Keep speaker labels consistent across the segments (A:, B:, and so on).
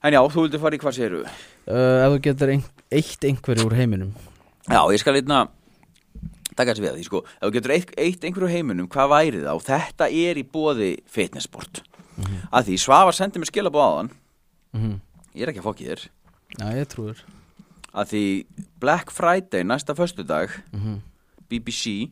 A: En já, þú vildi fara í hvað séru
B: uh, Ef þú getur ein, eitt einhverju úr heiminum
A: Já, ég skal einna taka þessi við að því sko Ef þú getur eitt, eitt einhverju heiminum, hvað væri það og þetta er í bóði fitnessport mm að því Svavar sendi mér skilabóð áðan
B: Mhm.
A: ég er ekki að fokki þér
B: Já, ég trúður
A: að því Black Friday næsta föstudag
B: Mhm.
A: BBC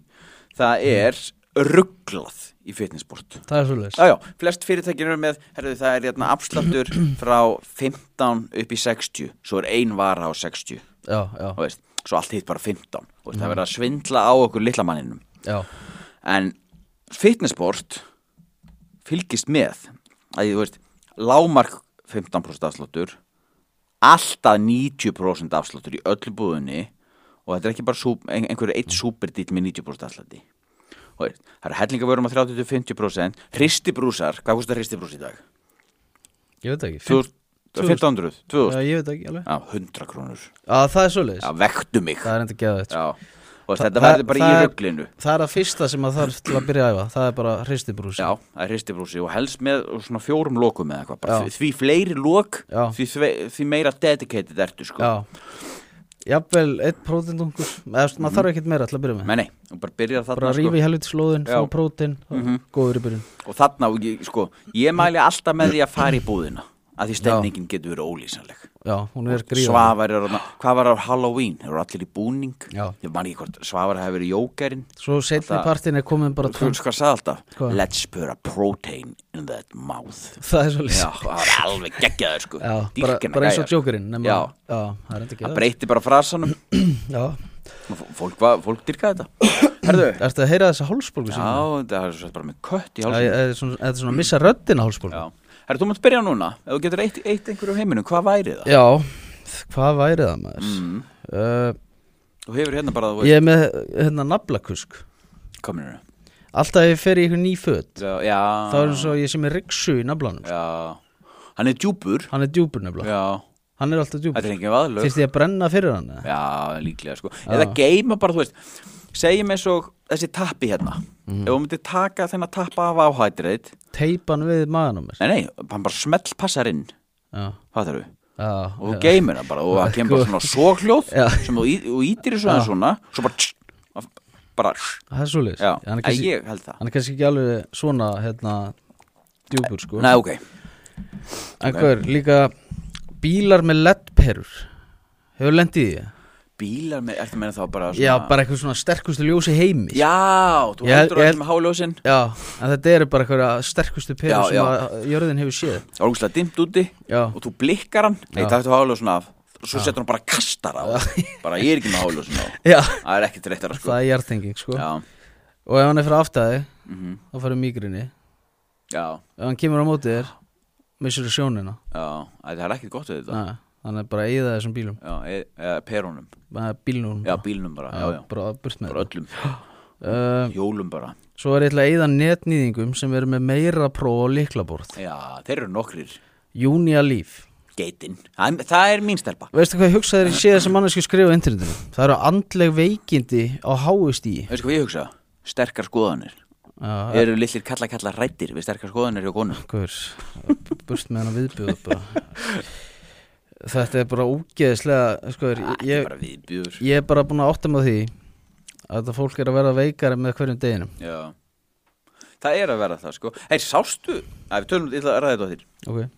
A: það er rugglað í fitnessport
B: Það er svolítið
A: Já, já, flest fyrirtækin eru með, herðu, það er hérna afsláttur frá 15 upp í 60, svo er ein vara á 60,
B: Já, já,
A: þú veist, svo allt hitt bara 15, þú veist, það verður að
B: Mm.
A: svindla á okkur litla manninum.
B: já
A: En fitnessport fylgist með, að þú veist, lámark 15% afsláttur, alltaf 90% afsláttur í öllu búðinni og þetta er ekki bara súp, ein, einhverju eitt súperdýll með 90% afslátti. Þú veist, Það eru hellingavörum að 30-50%, hristibrúsar, hvað kostar hristibrús í dag?
B: Ég veit ekki fimm-
A: 1500, 2000
B: Já, ég veit ekki alveg
A: Já, 100 krónur
B: Já, það er svolítið
A: Já, vektu mig
B: Það er enda geðað þetta
A: Já, og
B: sko. Þa-
A: þetta
B: það-
A: verður bara
B: það
A: í
B: er-
A: rugglinu
B: Það er að fyrsta sem að þarf til að byrja að æfa Það er bara hristibrús
A: Já, það er hristibrúsi og helst með svona fjórum lokum eða eitthvað bara
B: Já.
A: því, því fleiri lok,
B: Já.
A: því, þve- því meira dedicated ertu sko
B: Já Jafnvel, eitt prótindungur Eða þú veist, maður þarf ekkert meira til að byrja með
A: Nei, nei, og bara byrjar
B: Bara
A: þarna
B: að
A: sko.
B: rífa í helviti slóðin,
A: Já. Mhm.
B: fá prótin Góður í byrjun
A: og þarna, og ég- sko, ég mæli alltaf með því að fara í búðina að því stefningin getur verið ólýsanleg
B: Já, hún er gríðan
A: Svavar er, þarna- hvað var á Halloween? Þeir eru allir í búning
B: Já.
A: Ég man ekki hvort Svavar hefur verið jókerinn
B: Svo setni
A: Það-
B: partin er komin bara
A: Þú
B: tón
A: veist hvað sagði alltaf?
B: Hvað?
A: Let's put a protein in that mouth
B: Það er svolítið
A: Já, það var alveg geggjaður sko
B: Já, bara,
A: Dýrkina sko.
B: bara eins og
A: gæjar.
B: djókurinn nema,
A: Já.
B: já, það er enda ekki
A: Það breytti bara frasanum
B: Já,
A: Og f- Fólk, var, fólk dyrkaði þetta Herðu Já,
B: ertu að heyra þessa hálsbólgu sem
A: það er svo bara með kött í
B: Já,
A: hálsum
B: ég- þetta er svona, þetta er svona að missa röddina hálsbólgu
A: Já Herðu, þú mátt byrja núna Ef þú getur eitt, eitt einhverju heiminum, hvað væri það?
B: Já, hvað væri það maður
A: Mm.
B: uh,
A: Þú hefur hérna bara, þú
B: Ég er með hérna naflakusk
A: veist, komin hérna
B: Alltaf ef ég fer í ykkur ný föt
A: Já, já
B: Þá er eins og ég sé með riksu í naflanum
A: Já Hann er djúpur
B: Hann er djúpur nefnilega,
A: Já
B: hann er alltaf
A: Þetta
B: djúpur
A: er engin vaðlög
B: Fyrst ég að brenna fyrir hann eða?
A: Já, líklega sko Eða geima bara, þú veist Segjum eins og þessi tappi hérna
B: Mhm.
A: Ef þú myndir taka þennan tappa af áhætrið
B: Teipa hann við magan á mér
A: Nei, nei, hann bara smell passar inn
B: Já,
A: Hvað þarf þú?
B: já,
A: og þú geymir það bara og það kemur bara svona sókljóð
B: Sko, Já.
A: sem þú í- þú ítir í svona svona svo bara tss, af- bara tss.
B: það er svoleiðis
A: já,
B: Hann er
A: Æ,
B: kannski-
A: ég held það
B: hann er kannski ekki alveg svona hérna djúpur sko
A: Nei, ok,
B: En hvað er líka bílar með leddperur Hefur lendið í því?
A: bílar með, ertu að meina þá bara svona
B: Já, bara eitthvað svona sterkustu ljósi heimi sko.
A: Já, þú
B: Ég
A: heldur
B: held- ég
A: allir
B: held-
A: með háljósin
B: já en þetta eru bara eitthvað sterkustu perur
A: Já,
B: sem
A: já.
B: að jörðin hefur séð
A: Það er ógustlega dimmt úti
B: Já.
A: og þú blikkar hann Nei,
B: Já.
A: það ertu háljósin af Svo setur hann bara kastar á Bara ég er ekki með háljósin á
B: Já,
A: Það er ekkert reyttara sko
B: það er jartenging sko
A: Já, Mhm.
B: Og ef hann er fyrir aftæði þá farið mýgrinni
A: já,
B: Ef hann kemur á móti þér missur sjónina
A: já Æ, Það er ekkert gott við þetta
B: Nei, Þannig er bara að eyða þessum bílum
A: Já, e- eða perunum
B: Bara Bílnum
A: Já, bílnum bara, já, já
B: Bara burt með
A: Bara öllum,
B: það
A: jólum bara
B: Svo er ég ætla að eyða netnýðingum sem eru með meira próf og líklaborð
A: Já, þeir eru nokkrir
B: Júnia líf
A: geitin, það, það er mín stelpa
B: Veistu hvað ég hugsaði þegar ég sé þess að mannesku skrifa á internetinu? Það eru andleg veikindi á háust í
A: veistu hvað ég hugsa, sterkar skoðanir
B: Já,
A: eru litlir kalla kalla rættir við sterkar skoðanir hjá konum
B: ekkur Burt með hana viðbjöðu bara Þetta er bara ógeðislega sko,
A: það er
B: ég,
A: bara viðbjör
B: ég er bara búin að átta með því að þetta fólk er að verða veikari með hverjum deginum
A: Já. það er að vera það sko hei, sástu, að við tölum illa að ræða þetta á þér
B: okay.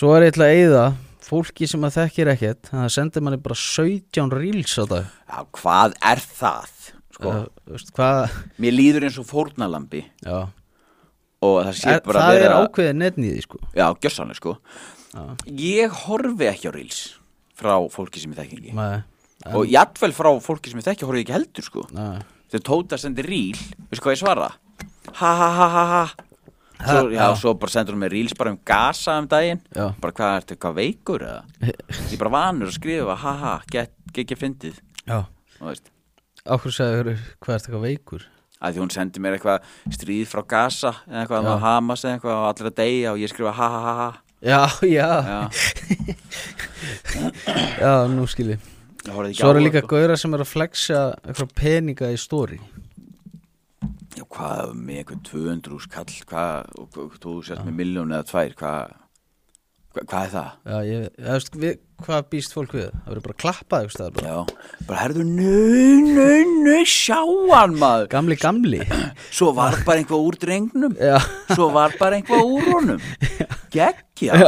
B: Svo er ég ætla að eyða fólki sem að þekkir ekkert en það sendir manni bara 17 reels á dag
A: já, hvað er það sko,
B: Það, veist, hvað,
A: mér líður eins og fórnalambi
B: já,
A: og það sé
B: er,
A: bara
B: það er
A: vera
B: ákveðið netnýði sko.
A: já, gjössanlega sko ég horfi ekki á reels frá fólki sem ég þekki ekki
B: Nei,
A: og jafnvel frá fólki sem ég þekki horfi ég ekki heldur sko
B: nei.
A: þegar Tóta sendir ríl veistu hvað ég svara? ha ha ha ha ha svo, já, svo bara sendur hún mér ríls bara um gasa um daginn
B: Já.
A: bara hvað ertu, hvað veikur eða ég er bara vanur að skrifa ha ha get, get ekki fyndið
B: Já
A: Þú veist,
B: Áhverju sagði þau hvað er þetta veikur
A: að því hún sendir mér eitthvað stríð frá gasa eða eitthvað
B: Já.
A: á Hamas eða eitthvað og allir að deyja og ég skrifa ha ha ha ha
B: Já, já,
A: já,
B: já, nú skil ég
A: ég horfði ekki
B: Svo
A: á
B: eru
A: það,
B: líka
A: sko.
B: gauðra sem er að flexa eitthvað peninga í stóri
A: já, hvað með eitthvað 200 skall hvað, og, og, þú sérst með miljón eða tvær hvað Hva, hvað er það?
B: Já, ég, ég veist, við, hvað býst fólk við? Það verður bara að klappa einhvers staðar bara.
A: Já, bara herðu, nö, nö, nö, sjáan maður
B: Gamli, gamli
A: Svo var bara einhvað úr drengnum
B: Já,
A: Svo var bara einhvað úr honum Gekkja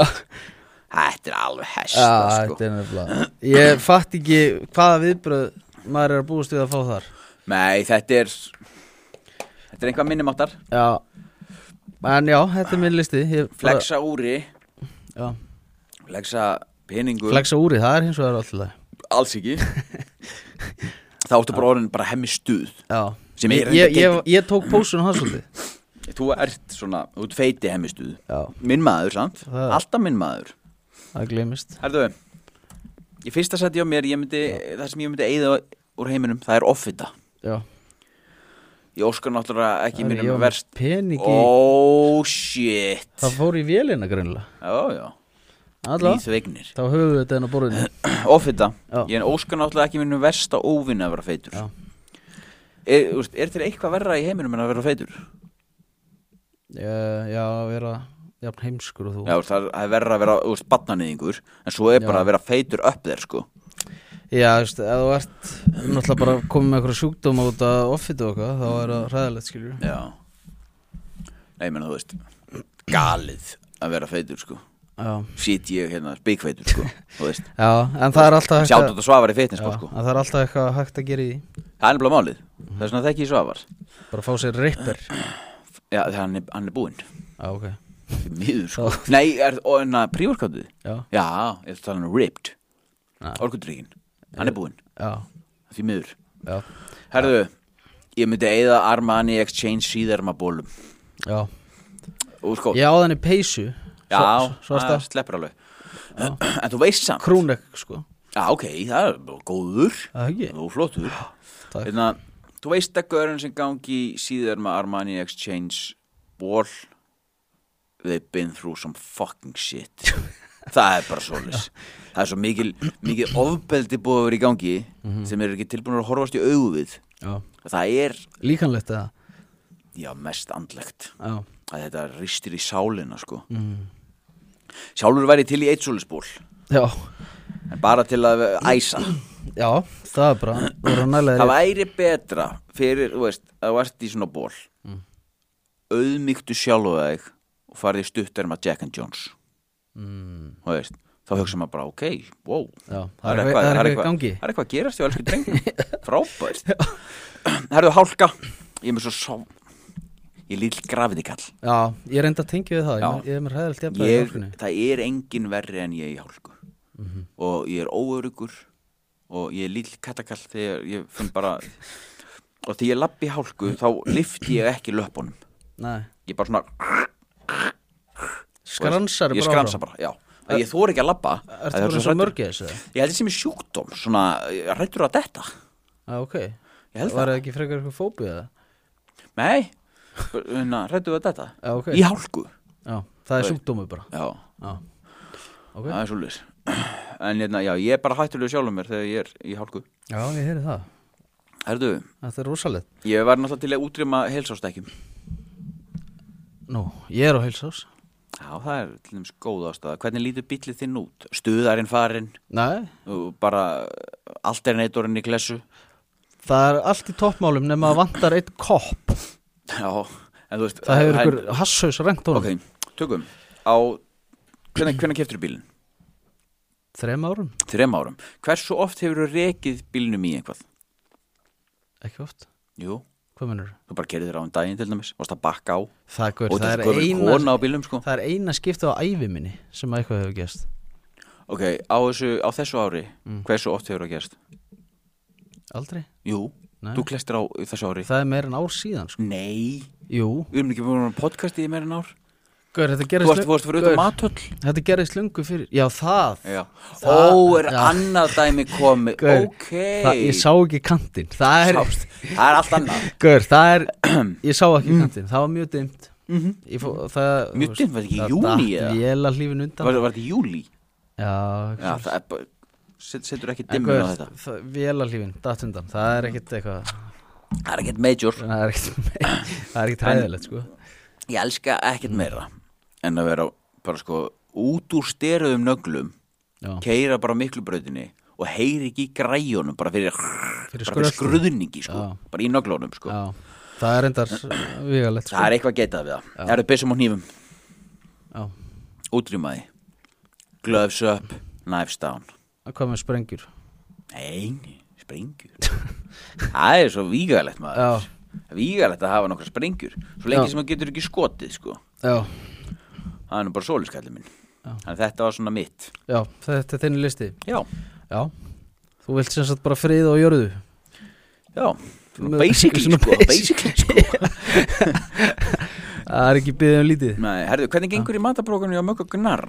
A: Þetta er alveg hesta,
B: já
A: sko
B: þetta er nefnilega Ég fatt ekki hvaða viðbröð maður er að búast við að fá þar
A: Nei, þetta er Þetta er einhvað minnumáttar
B: Já En já, þetta er minn listi Ég bara-
A: Flexa úri,
B: já.
A: flexa peningu
B: Flexa úrið, það er hins vegar alltaf leið.
A: Alls ekki Þá ertu bara orðin bara hemmi stuð
B: Já
A: Sem er
B: ég, ég,
A: reyndar
B: ég, ég tók pósun á hans svolítið
A: Þú ert svona, þú ert feiti hemmi stuð
B: Já,
A: Minn maður, samt,
B: Það er-
A: alltaf minn maður
B: það glemist
A: Herðu, í fyrsta seti á mér, ég myndi, það sem ég myndi eyða úr heiminum, það er offita.
B: Já
A: Ég óskar náttúrulega ekki
B: Það er ég
A: mínum
B: á
A: verst.
B: peningi
A: Ó, shit.
B: Það fór í vélina greinlega
A: Já, já.
B: Alla,
A: Nýþvegnir.
B: þá höfum við þetta enn á borðinu
A: Offita.
B: Já.
A: Ég óskar náttúrulega ekki mínum versta óvinna að vera feitur.
B: Já.
A: Er, þú veist, er til eitthvað verra í heiminum en að vera feitur?
B: Eh, Já, að vera jafn heimskur og þú
A: Já, þú veist, það er- það er verra að vera, þú veist, batnaniðingur, en svo er
B: Já.
A: bara að vera feitur upp þér, sko.
B: Já, þú veist, ef þú ert náttúrulega bara komið með einhverja sjúkdóma út að offita og eitthvað, þá er það ræðilegt, skiljur
A: Já. Nei, menn, þú veist, galið að vera feitur, sko.
B: Já,
A: Sýt ég hérna, spikfeitur, sko, þú veist.
B: já, en það er alltaf hægt
A: Sjátt
B: að
A: út að Svavar í
B: já,
A: fitnessport sko
B: en það er alltaf eitthvað hægt að gera í því
A: Það er nefnilega málið Það er svona þekki í Svavar
B: bara fá sér ripper
A: Já, þegar hann er, hann er búinn
B: Já, ok,
A: Því miður sko Nei, er það prívorkáttuð?
B: já,
A: Já, ég ætla að tala um ripped
B: Já.
A: Orkudrykkin Hann er búinn
B: já,
A: Því miður
B: já,
A: Herðu, ég myndi eigða Armani Exchange síðarmabólum
B: já
A: Og sko,
B: Ég á þannig peysu
A: já,
B: svo, svo
A: það sleppur alveg En þú veist samt
B: Krúnek, sko,
A: Já, ok, það er bara góður
B: það er ekki
A: Þú flottur Þannig
B: Takk.
A: að Hérna, þú veist að görun sem gangi síðarma Armani Exchange ból They've been through some fucking shit Það er bara svolis Það er svo mikil, mikil ofbeldi búið að vera í gangi sem eru ekki tilbúin að horfast í augu við
B: Já,
A: Það er,
B: líkanlegt eða
A: já, mest andlegt
B: Já,
A: að þetta ristir í sálina, sko Sjálfur væri til í eitt svolisból
B: já,
A: en bara til að æsa
B: já, það er bara voru nælega
A: Það
B: rétt
A: væri betra fyrir, þú veist, að þú ert í svona ból mm. auðmygtu sjálfu þig og farið í stuttarma Jack and Jones
B: Mm,
A: þú veist, þá hugsa maður bara, ok, wow
B: Já, það er eitthvað- það er eitthvað í gangi
A: Það er eitthvað að gerast hjá elsku drengum Frábært Það eru hálka Ég er með svo sá Ég er lítill grafið í kall
B: Já, ég reyndi að tengja við það,
A: Já.
B: ég, ég er mér hæðilegt jafnlega í
A: ég,
B: hálkunni
A: Það er engin verri en ég í hálku
B: Mhm.
A: Og ég er óörugur Og ég er lítill kattakall Þegar ég finn bara Og þegar ég labbi í hálku Þá lifti ég ekki löpunum
B: Nei,
A: Ég bara svona
B: skransar
A: Ég skransa bara, já Það ég þór ekki að labba
B: Ertu
A: Það er
B: bara
A: svo
B: eins og
A: hræddur.
B: mörgið þessu? eða?
A: Ég held ég sem er sjúkdóm Svona, rættur að detta
B: Já, ok
A: Ég held
B: Var
A: það
B: það ekki frekar eitthvað fóbið eða?
A: Nei, rættur að detta
B: Já, ok
A: Í hálku
B: Já, það er
A: Nei.
B: sjúkdómur bara
A: Já,
B: Já, ok
A: það er svolítið En hérna, já, ég er bara hættulega sjálfum mér Þegar ég er í hálku
B: Já, ég heyri það
A: Herðu,
B: Þetta er rosalegt
A: ég var náttúrulega til að útrýma heilsástækjum
B: Nú, ég er á heilsás
A: Já, það er til dæmis góð ástæða. Hvernig lítur bíllið þinn út? Stuðarinn farinn,
B: Nei,
A: og bara alternatorinn í klessu?
B: það er allt í toppmálum nema að vantar eitt kopp
A: Já, en þú veist...
B: Það hefur
A: en-
B: ykkur hasshaus rent honum
A: Ok, tökum. Á, hvernig, hvernig keftur bílinn?
B: Þrem árum,
A: Þrem árum. Hversu oft hefur þú rekið bílinnum í einhvað?
B: ekki oft
A: Jú,
B: Hvað mennur?
A: þú bara gerðir á um daginn til dæmis, varst að bakka á og
B: Það, er gaur, það,
A: þetta
B: er
A: er
B: eina,
A: kona á bílnum, sko.
B: það er eina skipta á ævi minni sem að eitthvað hefur gerst
A: Ok, á, þessu, á þessu ári,
B: Mm.
A: hversu oft hefur þú gerst?
B: Aldrei
A: Jú,
B: Nei.
A: þú klestir á þessu ári.
B: Það er meira en ár síðan sko.
A: Nei,
B: Jú
A: við erum ekki búin að podcasti í meira en ár.
B: Gaur,
A: Þú
B: þetta
A: varst,
B: gerist,
A: þú varst fyrir
B: Gaur,
A: auðvitað matöll.
B: þetta gerist lungu fyrir Já, það
A: Já.
B: Það-
A: Ó, er
B: Já.
A: annað dæmi komið
B: Gaur,
A: Ok
B: það, Ég sá ekki kantinn Það er,
A: Sást. Það er allt annað
B: gaur, það er Ég sá ekki kantinn, það var mjög dimmt Ég fó, það,
A: Mhm. Mjög
B: þú veist,
A: dimmt, var þetta ekki í
B: það
A: júní
B: datt
A: eða?
B: vél að hlífin undan
A: Var, var þetta í júli?
B: Já,
A: Já, það er bara set, Setur ekki
B: En
A: dimmun á
B: gaur,
A: þetta
B: það- vél að hlífin, datt undan Það er ekkit eitthvað
A: Það er ekkert major
B: Það er ekkit, það er ekkit hæðilegt sko
A: Ég elska ekkert meira En að vera bara sko út úr styruðum nöglum
B: Já.
A: keira bara miklubrautinni og heyri ekki í græjunum bara fyrir,
B: Fyrir
A: bara fyrir
B: skrölti.
A: skruðningi sko,
B: Já.
A: bara í nöglunum sko.
B: Já, það er endar vigalegt sko.
A: það er eitthvað að geta við það það eru byssum og hnífum,
B: Já.
A: útrýmaði gloves up, knives down
B: Að Hvað með sprengjur
A: nei, sprengjur það er svo vígalegt maður
B: Já.
A: vígalegt að hafa nokkra sprengjur svo
B: Já.
A: lengi sem maður getur ekki skotið sko.
B: Já,
A: það er nú bara sóliskallið minn þannig að þetta var svona mitt
B: já, þetta er þinn listi
A: já,
B: Já, þú vilt sem sagt bara frið og jörðu
A: já, svona
B: Með-
A: basically,
B: svona
A: sko, basically sko.
B: Það er ekki byggðið um lítið
A: Nei, herðu, hvernig gengur í mataprógrunni á Möggu Gunnar?